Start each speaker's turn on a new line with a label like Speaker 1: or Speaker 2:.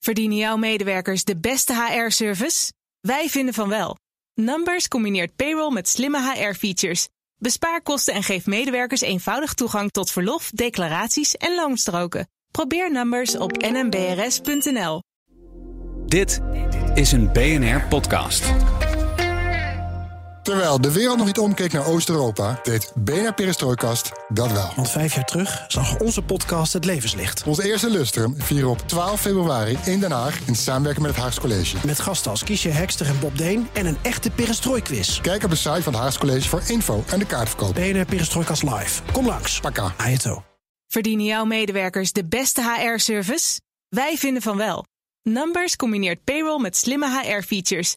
Speaker 1: Verdienen jouw medewerkers de beste HR-service? Wij vinden van wel. Numbers combineert payroll met slimme HR-features. Bespaar kosten en geef medewerkers eenvoudig toegang tot verlof, declaraties en loonstroken. Probeer Numbers op nmbrs.nl.
Speaker 2: Dit is een BNR-podcast.
Speaker 3: Terwijl de wereld nog niet omkeek naar Oost-Europa, deed BNR Perestrooikast dat wel.
Speaker 4: Want vijf jaar terug zag onze podcast het levenslicht.
Speaker 3: Ons eerste lustrum vieren we op 12 februari in Den Haag in samenwerking met het Haags College.
Speaker 4: Met gasten als Kiesje Hekster en Bob Deen en een echte perestrooi-quiz.
Speaker 3: Kijk op de site van het Haags College voor info en de kaartverkoop.
Speaker 4: BNR Perestroikast Live. Kom langs.
Speaker 3: Pakka.
Speaker 4: Ajeto.
Speaker 1: Verdienen jouw medewerkers de beste HR-service? Wij vinden van wel. Numbers combineert payroll met slimme HR-features.